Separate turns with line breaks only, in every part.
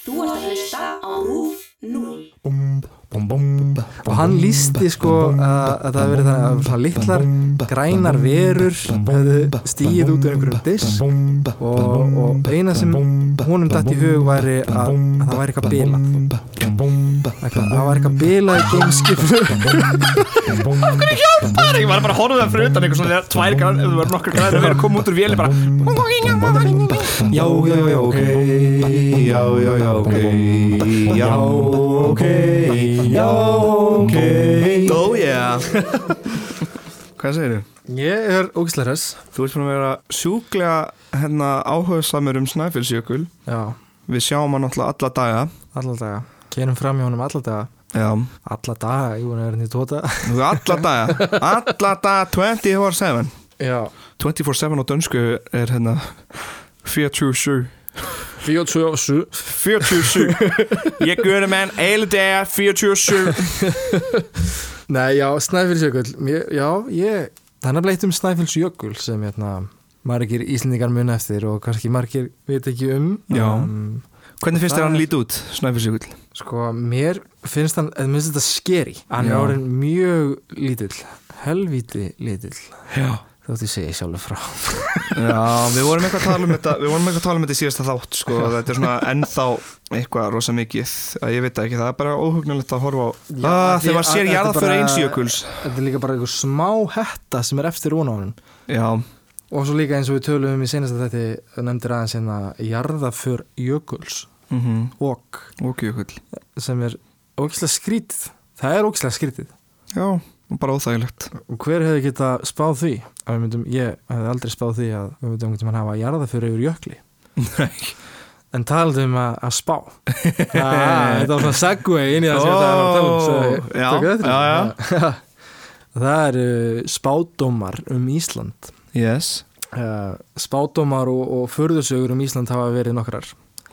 Þú ert að hlusta á RÚF 0.
og hann lísti sko að, að það hefði verið þannig að svona litlar grænar verur hefðu stíð út úr einhverjum disk og, og eina sem honum datt í hug væri að, að það væri eitthvað bilað eitthvað, það væri eitthvað bilað í gameskipinu
Það er ekki, maður bara horfðið það fyrir utan einhver svona tvær grann, ef þú verður nokkur grann að vera að koma út úr véli bara
já, já, já, ok
Já, já, já, ok Já, ok Já, ok
Oh yeah Hvað segir þú?
ég er ógislega res
Þú ert búin að vera sjúklega hérna, áhugaðsamur um Snæfellsjökul
já,
Við sjáum hann alltaf alla daga
alla daga, kerum fram í honum alla daga
Já,
alla daga, jú, hann er hérna nýtt tóta
þú alla daga Alla daga 24-7
já,
24-7 á dönsku er hérna 47
47
47 Ég guður menn eil daga 47
Nei, já, Snæfellsjökull Mér- Já, ég Það er nefnilega eitt um Snæfellsjökull sem hérna, margir íslendingar mun eftir og kannski margir veit ekki um
Já.
um,
Hvernig finnst þér hann lítið út, Snæfellsjökul?
Sko, mér finnst hann eða minnst þetta skeri Hann
Já.
er orðin mjög lítill helvíti lítill
Já
þótt ég segi sjálfur frá
Já, við vorum eitthvað að tala um þetta Við vorum eitthvað að tala um þetta í síðasta þátt sko. að Þetta er svona ennþá eitthvað rosa mikið að Ég veit það ekki, það er bara óhugnulegt að horfa á
Já,
ah,
því
Þegar maður
að-
sér
þetta er
jarðaför
bara-
eins jökuls
Þetta er líka bara einhver smá hetta sem er eftir hún á hann
Já,
og svo líka eins og við tölum um í senast að þetta nefndir aðeins hérna jarðaför jökuls
mm -hmm.
og
ókjökull
sem er ógislega skrítið það er ógislega skrítið
Já, bara óþægilegt
og hver hefði geta spáð því að við myndum, ég hefði aldrei spáð því að við myndum einhvern tímann hafa jarða fyrir yfir jökli
Nei.
en talaðu um að, að spá ah, þetta var svona segway inn í það sem þetta var að tala um svo ég
Já,
tók eftir því.
já, já.
það eru spádómar um Ísland
Yes,
Eh, spádómar og, og förðursögur um Ísland hafa verið nokkrar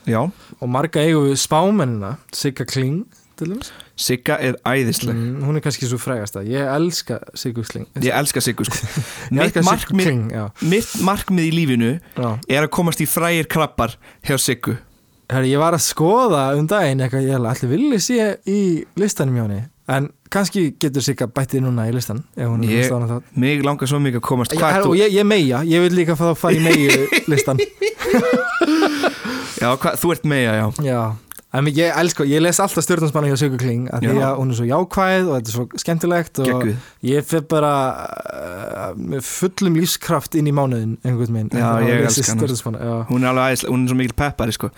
já
og marga eigum við spámennina Sigga Kling til dæmis
Sigga er æðisleg
Mm, hún er kannski svo frægasta ég elska Siggu Kling
Ég elska Siggu sko
Mm. Ég
Mitt
elska Siggu
markmið,
Kling, já,
mitt markmið í lífinu
já.
er að komast í frægir krabbar hjá Siggu
Herri, ég var að skoða um daginn eitthvað ég held að allir villi sé í listanum hjá henni en kannski getur sig að bætti núna í listan ef hún
Ég-
Mm, er hlusta á hana þá
Mig langar svo mikið að komast
Ég,
Hvað ert
herri,
þú-
og ég, ég meia, ég vil líka fá að fara í meiu listan
Já, hvað, þú ert meja, já
Já, en ég elsko, ég les alltaf stjórnansmanna hjá Sigur Kling að því
Já.
að hún er svo jákvæð og þetta er svo skemmtilegt og
Geggjuð.
ég fyrir bara uh, með fullum lífskraft inn í mánuðin einhvern veginn
Já, ég elska hana.
hana Já,
hún er alveg æðisleg, hún er svo mikil peppari sko.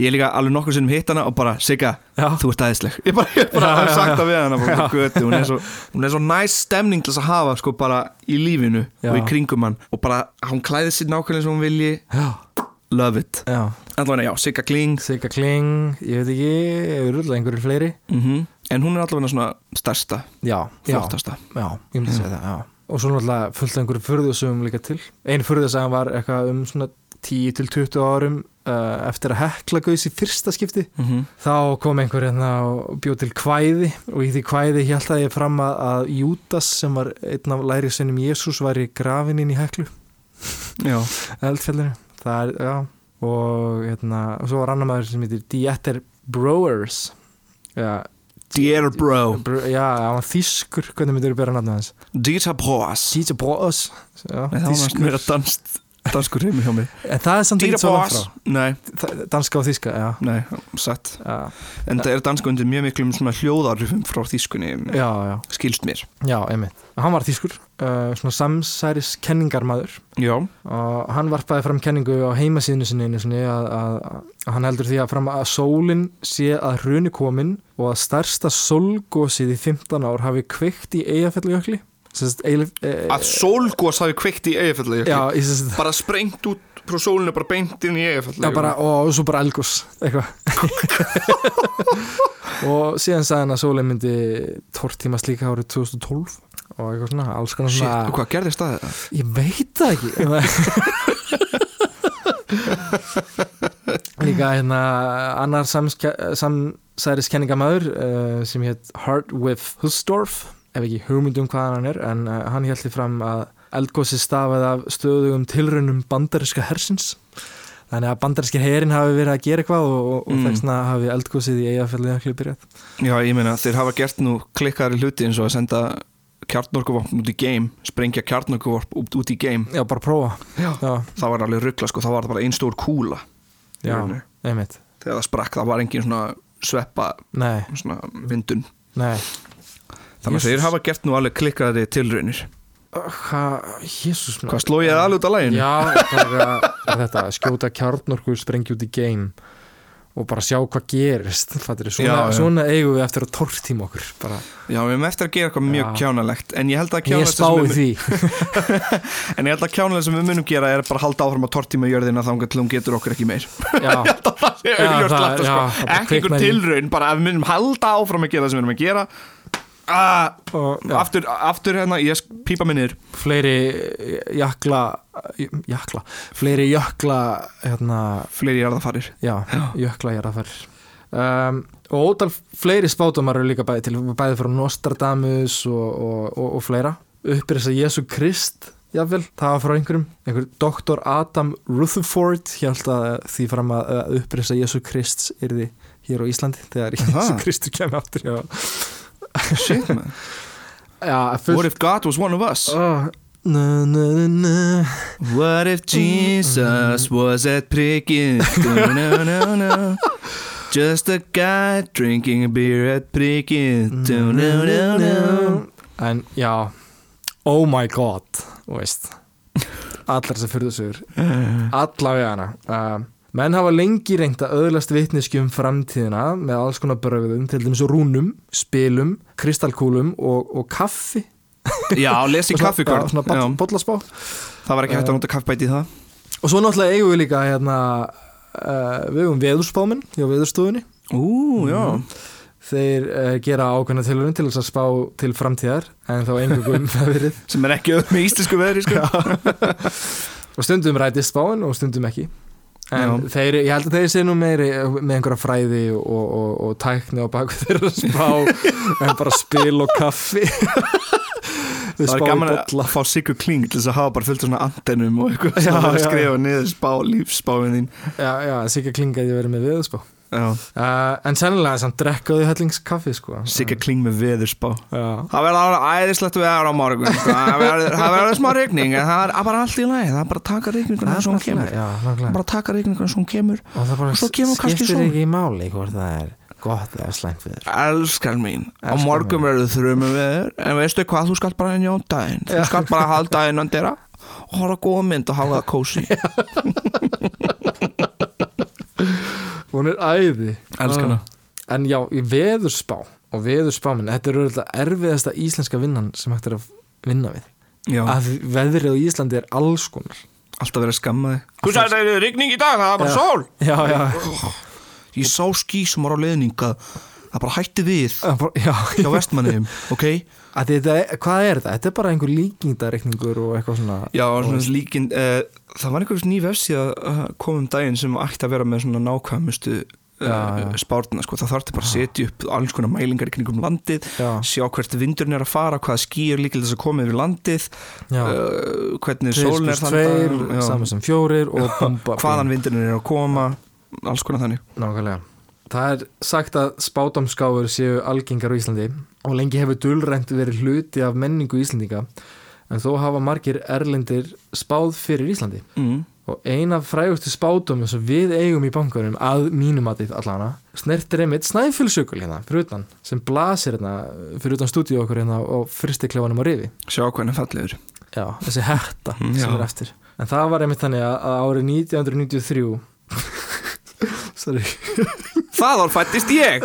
ég er líka alveg nokkur sinnum hitt hana og bara Sigga,
Já.
þú ert æðisleg ég bara, ég bara
Já,
hef
já,
sagt
já.
það við hana bara, götu, hún er svo, hún er svo næs stemning til þess að hafa sko bara í lífinu
Já.
og í kringum hann og bara hún klæðir sér nákvæmlega sem hún vilji
já,
love it,
já.
allavega já, Sigga Kling
Sigga Kling, ég veit ekki, ég er rullega einhverjir fleiri
mm en hún er allavega svona stærsta
Já, já.
flottasta,
Já, ég myndi segja það, já. Og svo náttúrulega fullt af einhverjum furðusögum líka til. Einu furðusagan var eitthvað um svona 10 til 20 árum uh, eftir að hekla gauðs í fyrsta skipti.
mm
Þá kom einhver hérna og bjóð til kvæði og í því kvæði hjælt að ég fram að, að Júdas sem var einn af læri sinum Jésús var í grafin inn í heklu,
já,
eldfjallinu. Það er, já, og hérna, og svo var annar maður sem heitir Dieter Browers. Já,
dear bro
br já, hann var þýskur, hvernig myndir þú bera nafnum hans?
Dita Bros
Dieter Browers. Já,
Nei, það var næst meira danst danskur heimi hjá mig
En það er samt
Dita
ekki svo langt
Bros,
frá
nei,
Það- Danska og þíska, já
nei, satt
Já,
En það er dansku undir mjög miklum svona hljóðarrufum frá þýskunni,
já, já,
skilst mér.
já einmitt Hann var þýskur, uh, svona samsæris kenningarmaður
Já.
og hann varpaði fram kenningu á heimasíðinu sinni einu sinni að, að, að hann heldur því að fram að sólin sé að hruni komin og að stærsta sólgósið í 15 ár hafi kveikt í eigafelljökli Sest, eilif, e,
Að sólgós hafi kveikt í eigafellagi.
Já, ég sést
Bara sprengt út frá sólinu, bara beint inn í eigafellagi.
Já, bara, og svo bara algos eitthvað og síðan sagði hann að sólinn myndi tortímast líka árið 2012 og eitthvað svona, alls konar
Shit, og
svona
hvað gerðist það það?
ég veit það ekki líka hérna annar samsæriskenningamæður uh, sem hétt Hardwiff Husdorf ef ekki hugmynd um hvaðan hann er en uh, hann held því fram að eldgósi stafið af stöðugum tilraunum bandariska hersins Þannig að bandarinskir herin hafi verið að gera eitthvað og, og, og
Mm.
þess vegna hafi eldkosið í eigafjallið ekki byrjað.
Já, ég meina, þeir hafa gert nú klikkaðari hluti eins og að senda kjarnorkuvorp út í game, sprengja kjarnorkuvorp út, út í game,
Já, bara prófa.
Já.
Já,
það var alveg ruggla sko, það var bara einn stór kúla í
já,
rauninni.
einmitt.
þegar það sprakk, það var engin svona sveppa,
Nei,
svona vindun
nei.
þannig að
Jesus.
þeir hafa gert nú alveg klikkaðari tilraunir
Hvað, jésús
Hvað sló ég alveg út af læginu?
Já, bara þetta, skjóta kjarnorku sprengja út í game og bara sjá hvað gerist fattir, svona,
Já, já.
svona eigum við eftir að tortíma okkur bara,
Já, við erum eftir að gera eitthvað mjög
Já.
kjánalegt En ég held að
ég
kjánalegt sem,
spái
við
því
mun- en ég held að kjánalegt sem við munum gera er bara að halda áfram að tortíma jörðina þangar til hún getur okkur ekki meir
já,
Það er
Já,
augljóst
það-
latur,
já,
sko.
það bara
Ekki einhver
kviknar í-
tilraun, bara að við munum halda áfram að gera það sem við erum að gera Ah,
og, já
aftur, aftur hérna, ég sk- pípa minnir
fleiri jakla jakla, fleiri jökla hérna,
Fleiri jarðafarir
já, jökla ég er að fer um, og ótal fleiri spátumar eru líka bæði til, bæði frá Nostradamus og, og, og, og fleira uppir þess að Jésu Krist jafnvel, það var frá einhverjum einhver doktor Adam Rutherford held að því fram að uppir þess að Jésu Krist yrði hér á Íslandi þegar Jésu Kristur kemur aftur já,
Shit man
já
What
fullt
if God was one of us?
oh, na, na, na, na.
What if Jesus was at Priggin? No, no, no, no Just a guy drinking a beer at Priggin No, no, no, no
En já Oh my god þú veist, Allar sem fyrir þessu Allavega hana uh, Menn hafa lengi reynt að öðlast vitneski um framtíðina með alls konar brögðum til dæmis rúnum, spilum, kristalkúlum og, og kaffi
Já, lesi
Og svona-
kaffikort
já, Svona
Já,
boll- bollaspá
Það var ekki hægt að nota kaffibæti í það
Og svo náttúrulega eigum við líka hérna, uh, við um veðurspáminn hjá veðurstofunni
Ú, já
Þeir uh, gera ákveðna tilurinn til þess að spá til framtíðar en þá um engum það verið
Sem er ekki öðrum í íslensku veðri, sko
og stundum rætist spáin og stundum ekki en
Já.
þeir, ég held að þeir sé nú meiri eh, með einhverja fræði og, og, og tækni á baku þeirra spá en bara spil og kaffi þau spá
Það var
í
gaman
bolla
að fá Sigur Kling til þess að hafa bara fullt af svona antennum og eitthvað
Já,
sem var að
já.
skrifa niður spá, lífsspáin þín
já, já, Sigga Kling að ég verið með veðurspá uh,
Já,
en sennilega samt drekkaðu hellingskaffi sko
Sigur Kling með veðurspá
já,
Það verður æðislegt veður á morgun sko. Það verður- það verður smá rigning en það er bara allt í lagi, það er bara að taka rigninguna eins og hún
já,
kemur Það er
nákvæmlega
bara að taka rigninguna eins og hún kemur
og það bara
svo kemur kannski
skiptir
sól.
ekki í máli hvort það er gott eða slæmt við
Elskar mín, á
Elskar
morgun
mín.
verður þrjum veður en veistu hvað, þú skalt bara njóta þinn þú skalt bara halda innan dyrra og horfa á góða mynd og hafa það kósi
hún er æði
Elskar hana.
Ah. en já, í veðurspá og veðurspáminn, þetta er auðvitað erfiðasta íslenska vinnan sem hægt er að vinna við
Já,
að veðrið á Íslandi er alls konar
alltaf verið að skamma þig Þú sagði það er rigning í dag, það er bara sól
já, já,
Ég sá ský sem var á leðninga það bara hætti við
Að bara- já.
hjá vestmanniðum, ok?
Að þetta, er- hvað er þetta? þetta er bara einhver líkindareikningur og eitthvað svona
Já, svona líkin uh, Það var einhvers ný vefsíða að koma um daginn sem ætti að vera með svona nákvæmustu
Já,
uh,
já.
spárna sko. það þarf til bara að setja upp alls konar mælingar í kringum landið,
Já.
sjá hvert vindurinn er að fara hvaða skýr líkilega þess að koma yfir landið
já,
uh, hvernig
tveir
sólinn er
pluss
þann dag,
tveir,
já,
saman sem fjórir og bomba
hvaðan vindurinn er að koma alls konar þannig
Nákvæmlega. Það er sagt að spátamskáfur séu algengar á Íslandi og lengi hefur dulrænt verið hluti af menningu Íslandinga en þó hafa margir erlendir spáð fyrir Íslandi
mm.
og eina frægustu spátumum sem við eigum í bankunum að mínum aðið allana snertir einmitt snæfjölsjökul hérna fyrir utan sem blasir hérna fyrir utan stúdíu okkur hérna á fristiklefanum á rifi
sjá hvernig fallegur
Já, þessi herta
Mm,
sem
já.
er eftir en það var einmitt þannig að- að árið 1993 sorry
Það var fættist ég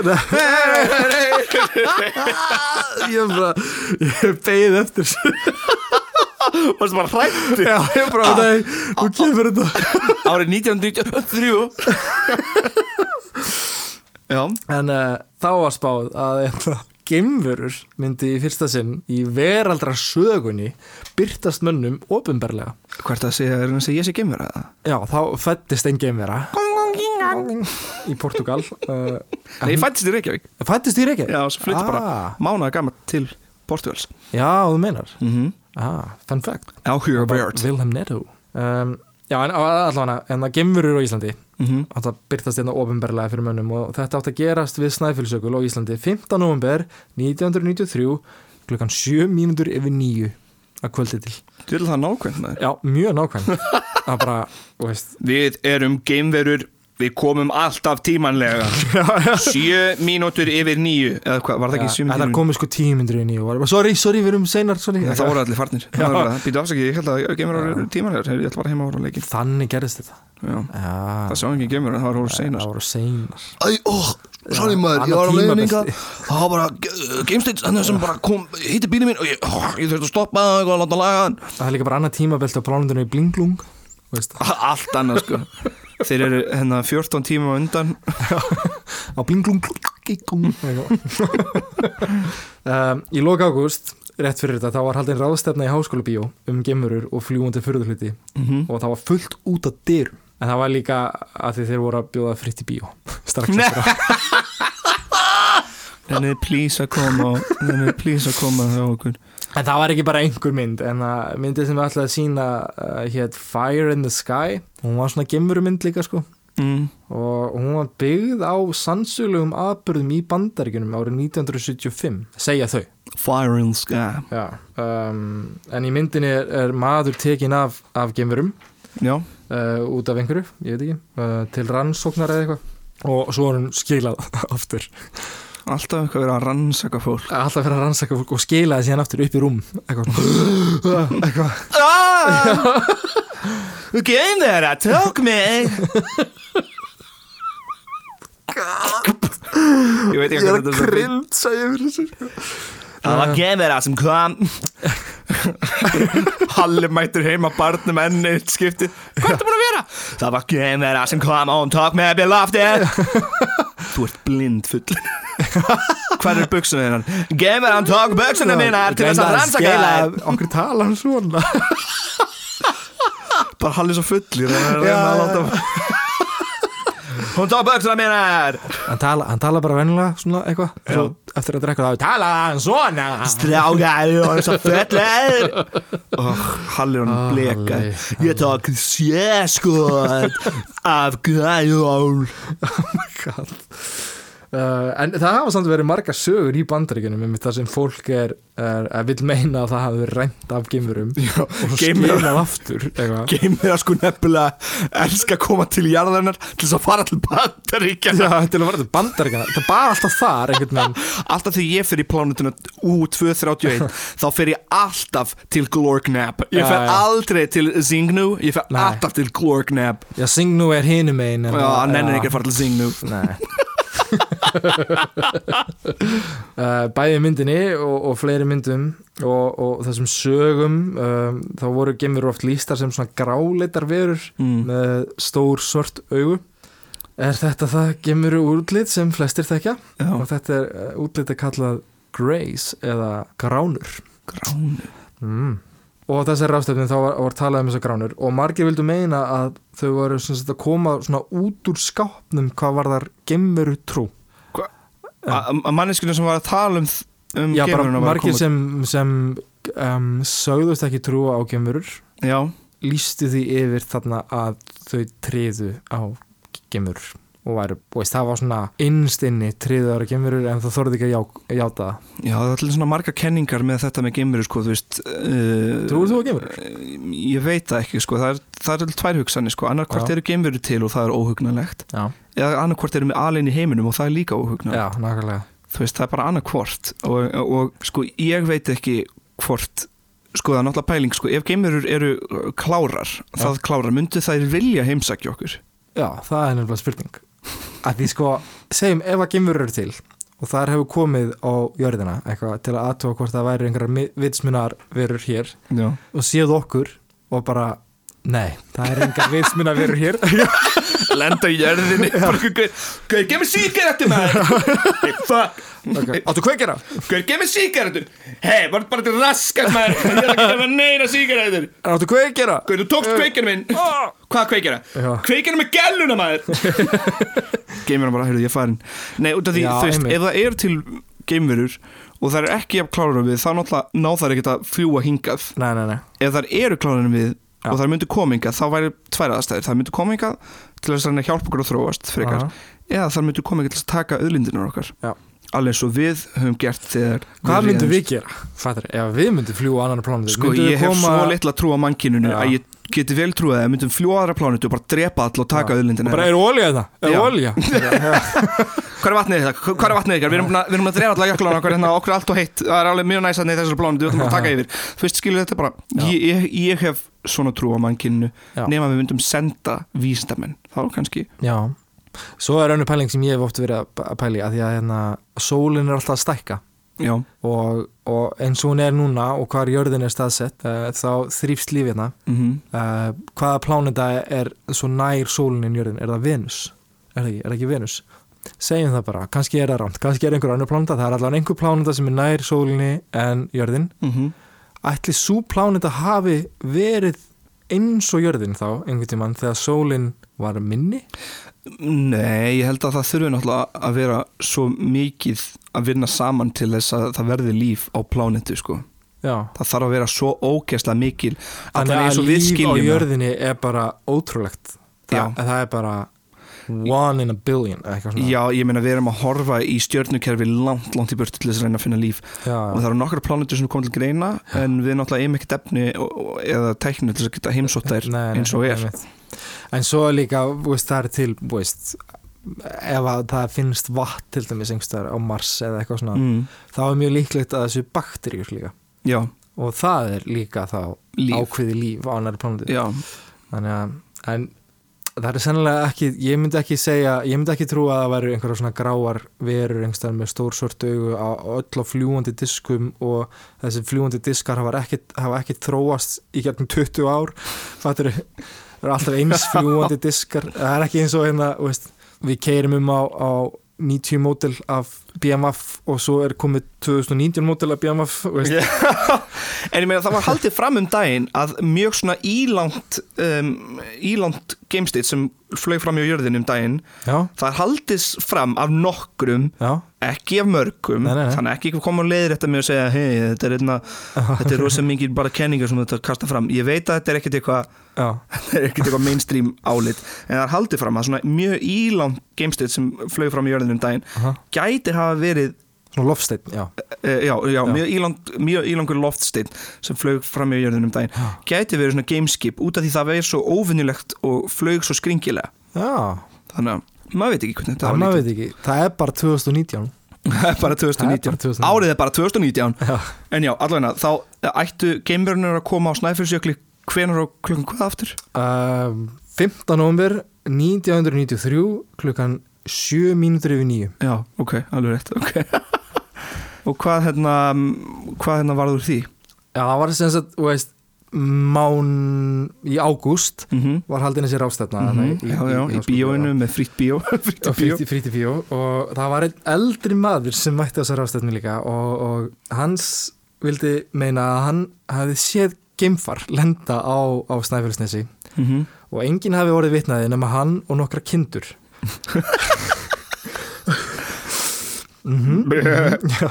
ég er bara ég beigð eftir þessu.
Varstu bara hrætt
já, ég er bara, nei, nú kemur hérna." þetta
Árið 1993 Já
en uh, þá var spáð að gemverur myndi í fyrsta sinn í veraldra sögunni byrtast mönnum ofinberlega
Hvert að segja, er hann að segja ég sé gemur að það?
já, þá fættist einn gemvera í Portugal uh,
Nei, ég fættist í Reykjavík
fættist í Reykjavík Ah,
Já, svo flytti bara mánuða gammal til Portugals
já, þú meinar
mm -hmm.
ah, fun fact
Áhuga
Wilhelm Netto um, Já, en allavega, en það gemurur á Íslandi
Mhm.
þetta byrtast hérna ofinberlega fyrir mönnum og þetta átt að gerast við Snæfellsjökul á Íslandi 15. november 1993 klukkan 7 mínútur yfir 9 að kvöldi til
Þú vil það nákvæmt maður
Já, mjög nákvæm Það er bara, þú veist
Við erum geimverur Við komum alltaf tímanlega Sjö mínútur yfir nýju Eða hvað, var það ekki sjö
ja,
mínútur
Það komið sko 10 mínútur yfir 9 og var bara, sorry, sorry, við erum seinar, sorry
Það voru allir farnir Það var bara, Býtu afsakið, ég held að geimverur eru tímanlegar Ég ætla bara heima að voru að leiki
Þannig gerðist þetta
Já.
Já,
Það sá engin geimverur, það var voru seinar
það voru seinar
Æ, ó, sorry maður, ég
annað
var á leiðin
tímabelti.
yngað Það var bara geimsteins, hann sem bara kom, hitti bílið minn og ég, ó, ég þurfti að stoppa það eitthvað að láta laga hann
Það er líka bara annað tímabelt á plánundinu í Blinglung þú veist,
Allt annað sko Þeir eru hérna 14 tíma á undan
á blinglung um, Ehm, í lok ágúst rétt fyrir þetta, þá var haldin ráðstefna í háskóla bíó um gemurur og fljúandi furðuhluti og það var fullt út að dyr en það var líka að því þeir voru að bjóða fritt í bíó strax
Nei.
eftir á
Þannig er please að koma Þannig er please að koma hjá okkur
en það var ekki bara einhver mynd en að myndið sem við ætlaði að sína uh, hétt Fire in the Sky hún var svona gemurumynd líka sko
mm.
og hún var byggð á sannsögulegum aðbörðum í bandaríkunum árið 1975 segja þau
Fire in the sky
Já, um, en í myndinni er, er maður tekin af, af gemurum
Já,
uh, út af einhverju, ég veit ekki, uh, til rannsóknar eða eitthvað og svo er hún skilað aftur.
alltaf eitthvað verið að rannsaka fólk
Alltaf fyrir að rannsaka fólk og skilaði síðan aftur upp í rúm. Eitthvað. svona. eitthvað.
ah! Geim þeirra, tók mig Ég veit ekki hvað þetta er svo Ah.
Grinsa ég fyrir þessu
Það var geim þeirra sem kom Halli mættur heima barnum enn eitt skipti Hvað ertu búin að vera? Það var geim þeirra sem kom og hún tók mig upp í lofti Þú ert blind full Hvað er buksuna þínar? Geim þeirra, hann tók buksuna mínar til þess að rannsaka þær
Okkur tala hann svona.
bara hallið svo fullir hann er að reyna að láta hún tók bögsuna mínar
Hann tala, hann tala bara venjulega svona eitthvað. Svo eftir að drekka það, tala hann svona.
strágar, ég var svo fullir oh, hallið hann bleka
Halli,
ég tók sjö skot af græjól
God. Uh, en það hafa samt verið margar sögur í bandaríkunum um það sem fólk er, er að vil meina að það hafi verið rænt af gemurum Já, og
geimverum.
skilað aftur eitthvað.
geimir að sko nefnilega elska að koma til jarðarnar til þess að fara til bandaríkja
Já, til að fara til bandaríkana það er bara alltaf þar einhvern veginn
alltaf þegar ég fer í plánutuna U231 þá fer ég alltaf til Glorgnab ég fer
Já, já.
aldrei til Zingnu ég fer
Nei.
alltaf til Glorgnab
Já, Singnu er hinum einn
Já, hann nennir ekki að fara til Zingnu
Nei uh, Bæði í myndinni og, og fleiri myndum og, og þessum sögum um, þá voru gemur oft lístar sem svona gráleitar verur
mm.
með stór svört augu Er þetta það gemur útlit sem flestir þekja og þetta er uh, útlit er kallað Grace eða gránur
Gránu
mm. Og á þessari ráðstöfni þá var, var talað um þessar gránur og margir vildu meina að þau voru sem sagt að koma svona út úr skápnum hvað var þar gemveru trú
Að manneskinu sem var að tala um, um
Já, bara
geimveruna var að
margir
koma-
sem, sem um, sögðust ekki trúa á gemverur
Já,
lístu því yfir þarna að þau triðu á gemverur og væru, og veist, það var svona innst inni triðu ára gemverur en það þorði ekki að já, játa það.
já, það er allir svona margar kenningar með þetta með geimveru sko, þú veist uh,
Trúir þú á geimverur?
Ég veit það ekki, sko, það er, það er tvær hugsanir sko, annar hvort
Já.
eru geimveru til og það er óhugnalegt
Já,
eða annar hvort eru með alinn í heiminum og það er líka óhugnalegt
já nákvæmlega
þú veist, það er bara annað hvort og, og sko, ég veit ekki hvort sko, það er náttúrulega pæling sko, ef geimverur eru uh, klárar það klárar, myndu þær vilja heimsækja okkur
Já, það er nefnilega spurning að því sko, segjum ef að geimur eru til og þar hefur komið á jörðina eitthvað til að aðtóa hvort það væri einhverjar vitsmunar verur hér
Já.
og séð okkur og bara nei, það er engar vitsmunar verur hér
lenda í jörðinni Gauð, gef mér síkaretu maður hey, Fuck
okay. áttu kveikir á
Gauð, gef mér síkaretu Hei, var bara til raskat maður Ég er ekki að gefa neina síkaretur
áttu kveikir á
Gauð, þú tókst kveikinu minn Hvað kveikina?
Ah. Já.
Kveikinu með gæluna maður Geimverðan bara, heyrðu, ég er farin Nei, út af því,
Já,
þú veist,
einmitt.
ef það er til geimverur og það er ekki jafn klárar við þá náttúrulega ná þær ekkert að fljúa hingað
nei, nei, nei,
ef þær eru klárar við
Já.
og það myndu kominga, þá væri tvær aðstæðir það myndu kominga til þess að reyna að hjálpa okkur að þróast frekar,
Aha.
eða það myndu kominga til þess að taka auðlindinar okkar
Já.
alveg eins og við höfum gert þegar
Hvað
réðumst-
myndum við gera? Fattir, ef við myndum fljú á annan plánu
Sko, ég hef svo litla trú á mannkyninu
Já.
að ég geti vel trúið að ef við myndum fljó aðra plánutu og bara drepa all og taka auðlindina
Bara er olja þetta? Er
Já.
olja?
Hvað er vatnið þetta? Hvað er vatnið ykkar? Við erum búin að- við erum búin að drefa allar jöklan okkar hérna okkur er allt og heitt Það er alveg mjög næs að neyða þessar blónum Við ætlum bara að taka yfir Þú veist, skilur þetta bara ég, ég, ég hef svona trú á mannkynnu
Já.
Nefn að við myndum senda vísindamenn Þá kannski
Já. Svo er önnu pæling sem ég hef oft verið að- að pæli að því að hérna, sólin er alltaf að stækka
Já,
og, og eins og hún er núna og hvar jörðin er staðsett uh, þá þrýfst líf hérna
mm
uh, hvaða plánenda er svo nær sólinin jörðin, er það Venus? Er það ekki, er það ekki Venus? Segjum það bara, kannski er það rámt, kannski er einhver annar plánenda, það er allavega einhver plánenda sem er nær sólinni en jörðin.
mhm.
Ætli svo plánenda hafi verið eins og jörðin þá einhvern tímann þegar sólin var minni?
Nei, ég held að það þurfi náttúrulega að vera svo mikið að vinna saman til þess að það verði líf á plánetu sko.
Já.
Það þarf að vera svo ógeðslega mikil
Þannig
allan eins
að
og
líf
við
á
skiljum það.
jörðinni er bara ótrúlegt.
Já.
Það, það er bara one in a billion eða eitthvað svona.
Já, ég meina við erum að horfa í stjörnukerfi langt, langt í burtu til þess að reyna að finna líf og
Já,
það eru nokkra plánetur sem kom til greina en við náttúrulega eigum ekkert efni og- og- eða tækni til þess að geta heimsótt þær
Nei, nei,
eins og er
einmitt. en svo líka, þú veist, það er til þú veist, ef að það finnst vatn til dæmis einhverstaðar á Mars eða eitthvað svona,
mm,
þá er mjög líklegt að þessu bakteríur líka
Já,
og það er líka þá
Líf.
ákveði líf á annar plánandi
já,
þannig að en, það er sennilega ekki, ég myndi ekki segja ég myndi ekki trúa að það væri einhverja svona gráar verur einhverstaðar með stór svört augu á á öll á fljúandi diskum og þessi fljúandi diskar hafa ekki, hafa ekki þróast í gegnum 20 ár fattur það eru alltaf eins fljúandi diskar það er ekki eins og hérna þú veist, við keirum um á, á 90 mótil af BMF og svo er komið 2019 mótil af BMF þú veist,
En ég meina það var haldið fram um daginn að mjög svona ílangt um, ílangt gamestit sem flög fram hjá jörðin um daginn
já,
það er haldið fram af nokkrum
já,
ekki af mörgum,
Nei, nei, nei.
þannig ekki koma og leiðir þetta með að segja, hei, þetta er einna, þetta er rosa mingir bara kenningar sem þetta kasta fram, ég veit að þetta er ekkert eitthvað
já
þetta er ekkert eitthvað mainstream álit en það er haldið fram að svona mjög ílangt gamestit sem flög fram í jörðinu um daginn
aha.
gæti hafa verið
svona lofsteinn, já
uh, já, já,
Já.
Mjög, ílangt, mjög ílangur loftsteinn sem flög fram í jörðinu um daginn gæti verið svona gameskip út af því það verið svo óvinnilegt og flög svo skringilega
já,
þannig að maður veit ekki hvernig þetta
Það,
var
maður veit ekki, það er bara 2019
Það er bara 2019.
Það er bara 2019.
Árið er bara 2019
Já.
En já, allavegna, þá eh, ættu geimverunir að koma á Snæfellsjökli hvenar og klukkan hvað aftur?
uh, 15. november 1993 klukkan 7 mínútur yfir 9
Já, ok, alveg rétt okay. Og hvað hérna hvað hérna varður því?
Já, það var sem sagt, þú veist mán í ágúst
Mm -hmm.
var haldin þessi rástefna
Mhm. já, já, í bíóinu með frýtt bíó Frýtt bíó
fríti, fríti bíó og það var einn eldri maður sem mætti á þessa rástefnu líka og, og hans vildi meina að hann hafði séð geimfar lenda á, á Snæfellsnesi
mm -hmm.
og enginn hafi orðið vitnaði nema hann og nokkra kindur Mhm, mhm, já.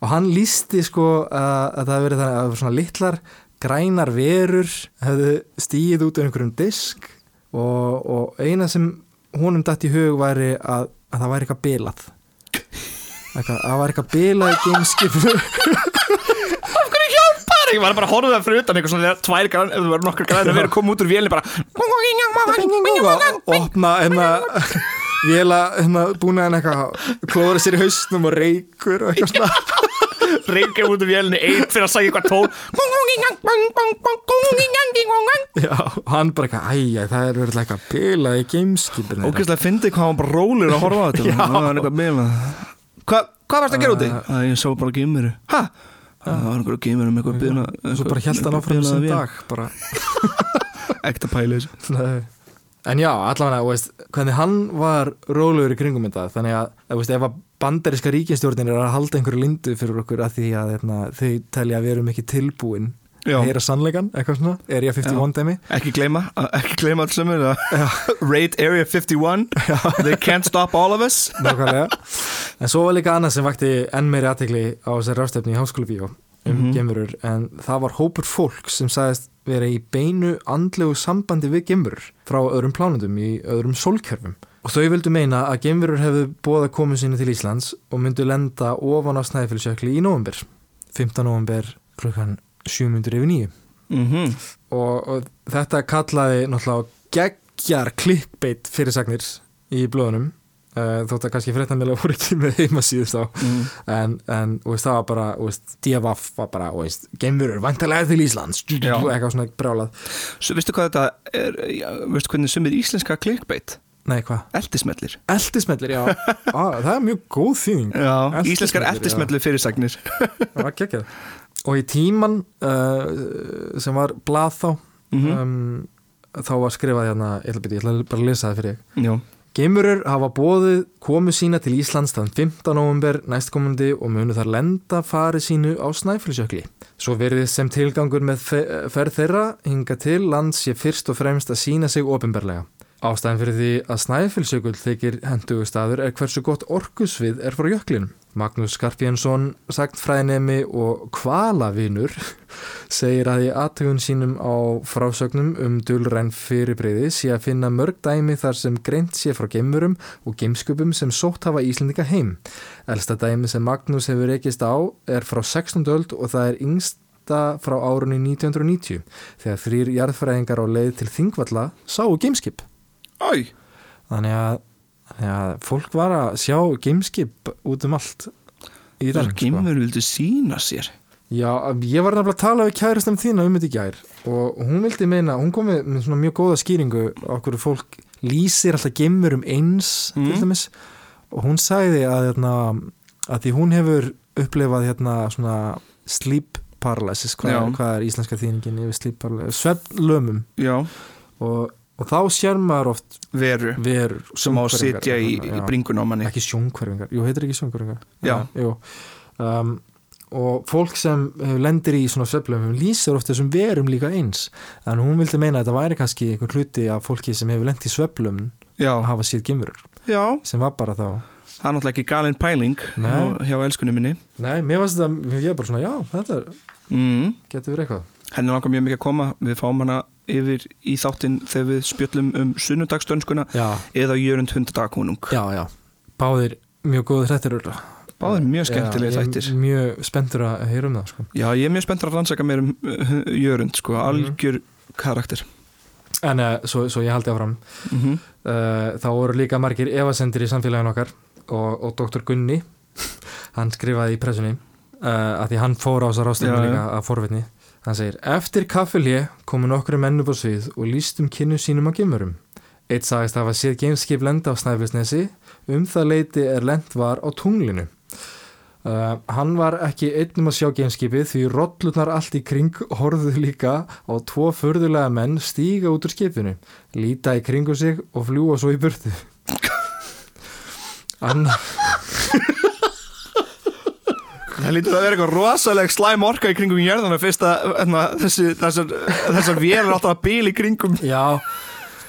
og hann lísti sko að, að það hefði verið þannig að það voru svona litlar grænar verur hefðu stíð út af einhverjum disk og, og eina sem honum datt í hug væri að, að það væri eitthvað bilað eitthvað, að það væri eitthvað bilað í gameskipinu
Ég var bara að horfa það fyrir utan eitthvað svona þegar tvær grann, ef það verður nokkur grann að vera að koma út úr vélni bara
og opna hérna vila hérna búnaðin eitthvað klóra sér í hausnum og reykur og eitthvað svona
reykja út úr vélni einn fyrir að sagja eitthvað tón
Já, og hann bara eitthvað, æja, það er verið eitthvað bilað í gameskipinu þeirra."
Ógæslega fyndið hvað hann bara rólir að horfa á þetta Það var eitthvað meila Hva, Hvað varst að gera úti? Uh, ég sá bara geimveru Hæ? Það var einhverju geimveru með eitthvað byrna
og svo bara held hann áfram sem dag bara.
Ekta pæli þessu
Nei. En já, allavega, þú veist, hvernig hann var rólegur í kringum þetta þannig að, þú veist, ef að bandariska ríkistjórnin er að halda einhverju lindu fyrir okkur að því að hérna, þau telja að við erum ekki tilbúin
Já.
að heyra sannleikan, eitthvað svona, er ég að 51 dæmi
Ekki gleyma, uh, ekki gleyma alls sem er Raid Area 51 They can't stop all of us
Nákvæmlega. En svo var líka annað sem vakti enn meiri aðtegli á þessari rástefni í háskóla bíó um mm en það var hópur fólk sem sagðist vera í beinu andlegu sambandi við gemurur frá öðrum plánundum í öðrum sólkjörfum. Og þau vildu meina að gemurur hefðu bóða komu sinni til Íslands og myndu lenda ofan á snæfellsjökli í november. 15. november klukkan 7.09
mm
og, og þetta kallaði náttúrulega á geggjar klikkbeitt fyrirsagnir í blöðunum uh, þótt að kannski fréttanlega voru ekki með heimasíður þá
Mm.
en, en þú veist, það var bara þú veist, DFF var bara, þú veist, geimverur vantarlega til Íslands,
Já.
eitthvað svona brjálað
Svo veistu hvað þetta er, já, veistu hvernig sumir íslenska clickbait?
nei, hvað?
Eldismellir.
Eldismellir, já ah, það er mjög góð þýðing
Já,
Eldismellir,
íslenskar
já.
eldismellir fyrirsagnir.
það var geggjað og í tíman uh, sem var blað þá
Mhm.
um, þá var skrifað hérna ég ætla, að byrja, ég ætla bara að lesa það fyrir ég
Já.
Geimurur hafa bóðið komu sína til Íslands þann 15. november næstkomandi og munu þar lenda fari sínu á Snæfellsjökli. Svo verðið sem tilgangur með fe- ferð þeirra hinga til lands sé fyrst og fremst að sína sig ofinberlega. Ástæðan fyrir því að Snæfellsjökull þykir hendugu staður er hversu gott orkusvið er frá jöklinum. Magnús Skarpjensson, sagt fræðinemi og kvalavinur segir að í aðtögun sínum á frásögnum um dulræn fyrirbreyði sé að finna mörg dæmi þar sem greint sé frá geimurum og geimskupum sem sótt hafa Íslendinga heim. Elsta dæmi sem Magnús hefur rekist á er frá 16. öld og það er yngsta frá árunni 1990 þegar þrýr jarðfræðingar á leið til Þingvalla sáu geimskip.
Æ,
Þannig að, þannig að fólk var að sjá geimskip út um allt í sko. dag.
þessar geimur vildu sína sér.
Já, ég var nefnilega að tala við kærastam þína um þetta í gær og hún vildi meina, hún kom með, með svona mjög góða skýringu á hverju fólk lýsir alltaf gemmurum eins til
Mhm.
dæmis og hún sagði að, hérna, að því hún hefur upplifað hérna svona sleep paralysis, hvað, er,
Já.
hvað er íslenska þýningin yfir sleep paralysis, svefnlömum
Já.
og, og þá sér maður oft
Veru,
verur
sem á að
sjónhverfingar,
sitja í,
eitthvað
í
svona, já
bringun á manni.
ekki sjónkverfingar, jú heitir ekki sjónkverfingar
Já.
jú. Um, og fólk sem eh, lendir í svona sveflum lýsir oft þessum verum líka eins en hún vildi meina að þetta væri kannski einhver hluti af fólki sem hefur lent í sveflum að
Já.
hafa séð gemurur
Já,
sem var bara þá
það er náttúrulega ekki galin pæling
Nei.
hjá- hjá elskunni minni.
nei, mér varst þetta, ég er bara svona, já, þetta er-
Mm.
getur verið eitthvað
Henni langar mjög mikið að koma, við fáum hana yfir í þáttinn þegar við spjöllum um sunnudagsdönskuna
já,
eða jörund hundadagunung.
já, já, báðir mjög góð hrettir
Báðir mjög skemmtilega þættir.
mjög spenntur að heyra um það sko.
Já, ég er mjög spenntur að rannsaka mér um uh, uh, jörund, sko,
Mhm.
algjör karakter.
en uh, svo, svo ég haldi áfram
Mm -hmm.
Uh, þá voru líka margir evasendir í samfélagin okkar og, og doktor Gunni hann skrifaði í pressunni uh, að því hann fór á þessar ástöðum
Já, já.
líka að forvitni hann segir, eftir kaffilje komu nokkru menn upp á svið og lístum kynnu sínum á gemurum eitt sagðist hafa séð geimskip lenda á Snæfellsnesi um það leiti er lent var á tunglinu Uh, hann var ekki einnum að sjá geimskipið því rollurnar allt í kring horfðu líka á tvo förðulega menn stíga út úr skipinu, líta í kringu sig og fljúa svo í burtu. Anna,
Það lítur að vera eitthvað rosaleg slæm orka í kringum jörðana fyrst að hérna, þessi, þessar, þessar vélar alltaf að bíl í kringum
já,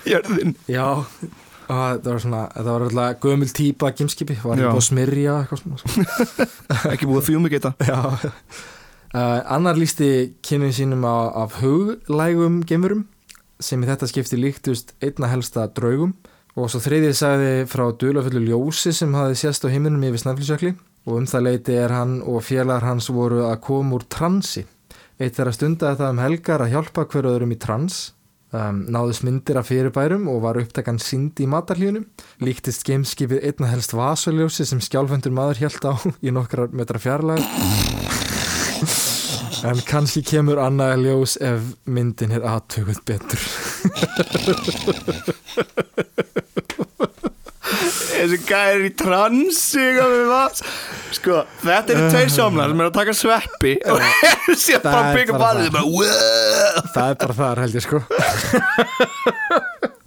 jörðin.
já, og það var svona, það var alltaf gömul típa af geimskipi, var
Já.
ekki búið að smyrja eitthvað svona. sko.
Ekki búið að fjúmigita.
Já. Uh, annar lísti kynnum sínum á, af huglægum gemurum sem í þetta skipti líktust einna helsta draugum og svo þriðið sagði frá dulafullu ljósi sem hafði sést á himnunum yfir snæflisjökli og um það leiti er hann og félagar hans voru að koma úr transi. Eitt þeirra stundaði það um helgar að hjálpa hver öðrum í trans, um, náðust myndir af fyrirbærum og var upptakan sind í matarlíunum, líktist gameskipið einna helst vasaljósi sem skjálfendur maður hjælt á í nokkrar metra fjarlæg En kannski kemur annað ljós ef myndin er aðtökuð betur.
Þessi gæri er í transi, hvað við varum. Sko, þetta eru tveir sjómlar sem er að taka sveppi og síðan
Það
bara
er
byggja
bara
barðið
það.
bara, wow,
Það er bara það, held ég sko.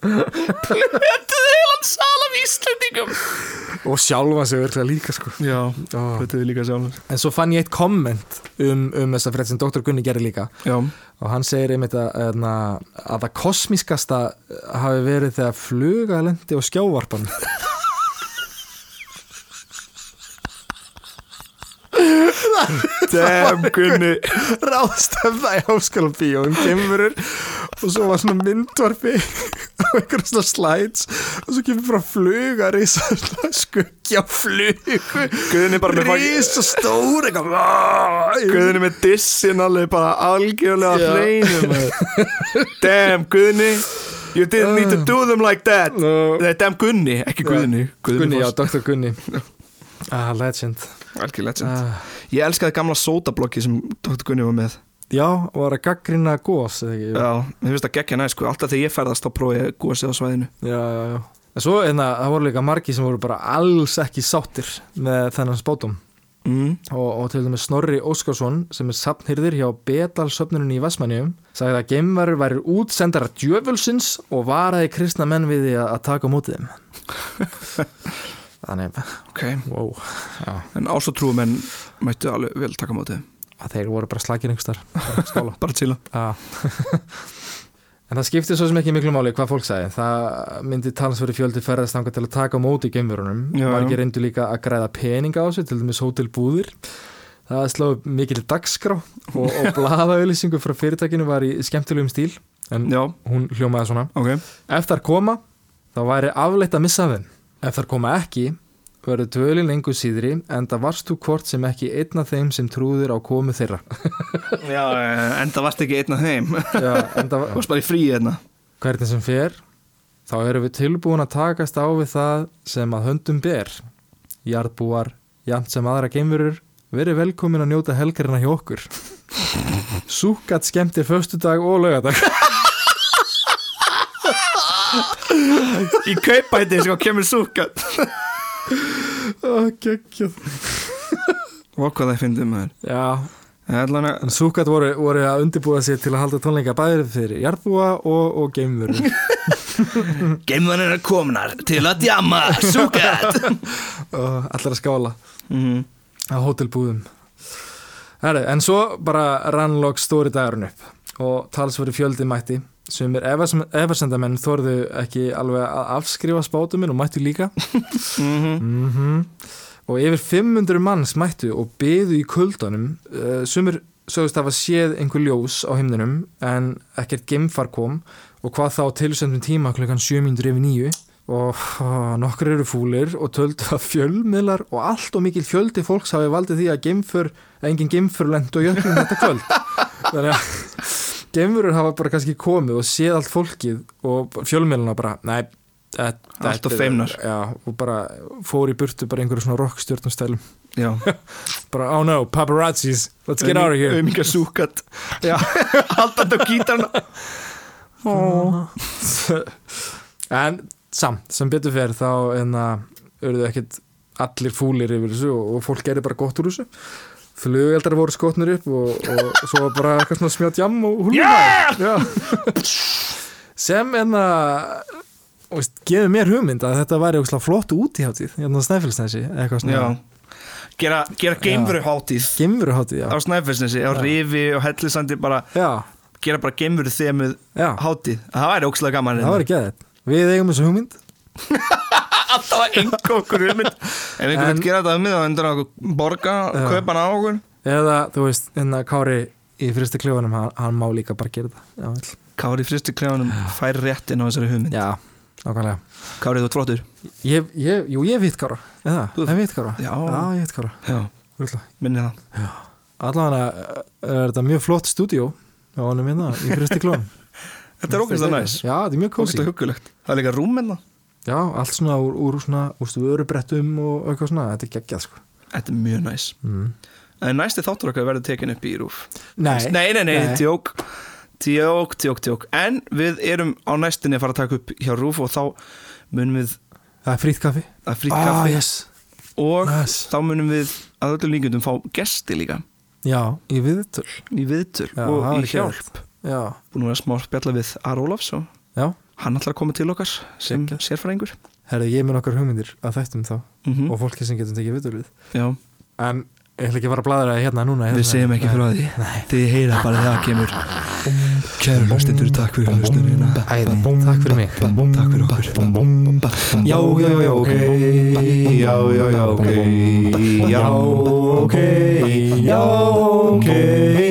þetta er heilan sal af Íslendingum.
Og sjálfa sig örglega líka sko.
Já,
Ó.
þetta er líka sjómlar.
En svo fann ég eitt komment um, um þessa frétt sem Dr. Gunni gerði líka.
Já,
Og hann segir einmitt að, hérna, að það kosmískasta eh, hafi verið þegar fluga lendi og skjávarpan. það
Damn, Gunni
ráðstöfða í háskóla bíó um kemurur og svo var svona myndvarfi og einhverjum svona slides og svo kemur frá fluga risa skuggja á flugu
Guðni bara með fag-
risa stór eitthvað
Guðni með dissin alveg bara algjörlega hreinum Damn, Guðni You didn't need to do them like that
No.
Nei, damn Gunni, ekki Guðni
Gunni, já,
Foss.
Dr. Gunni ah, legend
Algjör legend
ah.
Ég elskaði gamla sótablokki sem Dr. Gunni var með
já, og var að gaggrina gos eða ekki
Já, mér finnst það geggja næst sko Alltaf þegar ég ferðast þá prófa ég gósið á svæðinu
já, já, já En svo einna, það voru líka margi sem voru bara alls ekki sáttir með þennan spátum
mm.
og, og til dæmis Snorri Óskarsson sem er sapnhyrðir hjá Betalsöfnunni í Vestmannjum sagði að geimverur væri útsendara djöfulsins og varaði kristna menn við því að að taka á móti þeim Þannig,
Ok,
wow,
en ásatrúum en mættu alveg vel taka á móti þeim.
að þeir voru bara slakir yngstar Skóla
Bara tíla
Já. En það skipti svo sem ekki miklu máli hvað fólk sagði. Það myndi talansveri fjöldi ferðastanga til að taka á móti geimverunum.
Já, já.
Margir reyndu líka að græða peninga á sig, til dæmis hótelbúðir. Það sló upp mikil dagskrá og, og blaðauðlýsingu frá fyrirtækinu var í skemmtilegum stíl. En
Já,
hún hljómaði svona.
ok
Ef þar koma, þá væri afleitt að missa af þeim. Ef þar koma ekki, verður dvölin lengur síðri, en það varst þú hvort sem ekki einn af þeim sem trúðir á komu þeirra.
Já, eh, enda varst ekki einn af þeim Þú
Já, en það
varst bara í hérna. frí einna
hvernig sem fer þá erum við tilbúin að takast á við það sem að höndum ber jarðbúar, jæmt sem aðra geimverur verið velkomin að njóta helgarina hjá okkur súkat skemmtir föstudag og laugadag
Í kaupæti sem kemur súkat
já,
Og hvað það finnum maður Það er allan að
en súkat voru, voru að undirbúa sér til að halda tónleika bæðir fyrir jarðbúa og, og geimverur
Geimðan er komnar til að djama Súkat
og allar að skála
Mhm.
á hótelbúðum Herri, en svo bara rann lók stóri dagurinn upp og talsveri fjöldi mætti sem er eversendamenn þorðu ekki alveg að afskrifa spátuminn og mættu líka mm og yfir 500 manns mættu og byðu í kuldanum uh, sumir sögust hafa séð einhver ljós á himninum en ekkert geimfar kom og hvað þá á tilsöndum tíma klukkan 7.09 og ó, nokkur eru fúlir og töldu að fjölmiðlar og allt og mikil fjöldi fólks hafi valdið því að geimför, að engin geimför lendu á jöfnum þetta kvöld þannig að geimfurur hafa bara kannski komið og séð allt fólkið og fjölmiðlarna bara, nei þetta-
Allt of
þetta-
feimnar.
já, og bara fór í burtu bara einhverju svona rockstjórnum stælum
Já
bara, oh no, paparazzis, let's get out of here
Auminga súkat Já, haldandi á gítarna
en samt, sem betur fer þá en að urðu ekkit allir fúlir yfir þessu og, og fólk gerir bara gott úr þessu flugeldar voru skotnir upp og, og svo var bara eitthvað svona smjátt jamm og húlum yeah! sem en að og veist, gefur mér hugmynd að þetta væri ógeðslega flott út í hátíð, hérna á Snæfellsnesi eitthvað svona,
Já Gera, gera geimveru hátíð
gemuru hátíð já.
Á Snæfellsnesi, á Rifi og Hellisandi bara
já,
Gera bara geimveru þemið
já,
hátíð Það væri ókslega gaman hérna.
það var ekki að þetta við eigum þessu hugmynd
alltaf að enga okkur hugmynd Ef einhver
En-
vil gera þetta hugmynd þá endur hann okkur borga,
Já.
kaupa hann á okkur
eða, þú veist, hérna Kári í fyrstu klefunum, hann, hann má líka bara gera það já, vel.
Kári fristi klefanum fær réttin á þessari hugmynd
Já, nákvæmlega
Kári þú tróttur
ég, ég, Jú, ég veit kára Eða,
Þú-
ég veit kára
Já.
ég veit kára
Já, minni það
Allavega eh, er þetta mjög flott stúdíó á honum minna í Kristi Klón
Þetta er ógæmst að næs
Já, þetta er mjög
Ógæmst
kósi
að huggulegt Það er líka rúm hérna. en það
Já, allt svona úr, úr svona úrstu vörubrettum og eitthvað svona Þetta er geggjað sko
Þetta er mjög næs
mm.
En næsti þáttur okkar verður tekin upp í rúf
Nei,
Nei, nei, nei,
Nei.
tjók Tjók, tjók, tjók En við erum á næstinni að fara að taka upp hjá rúf og þá munum við
það er frýtt kaffi Ah,
að frýtt kaffi
yes.
og
Yes.
þá munum við að öllum líkundum fá gesti líka
Já, í viðutöl
í viðtöl
Já,
og
það
í
er
hjálp
Já,
búin að vera smá að spjalla við Ar Ólafs og
já
hann ætlar að koma til okkar sem sérfræðingur
Herði, ég mun okkar hugmyndir að þættum þá
mm
og fólki sem getum tekið viðutöl við
Já,
En ég ætla ekki að fara að bladra hérna núna hérna.
Við segjum ekki frá því Þið heyra bara þegar það kemur Kæru hlustendur, takk fyrir hlustunina
Æði, takk fyrir mig
Takk fyrir okkur Já, já, já, ok Já, já, já, ok Já, ok Já, ok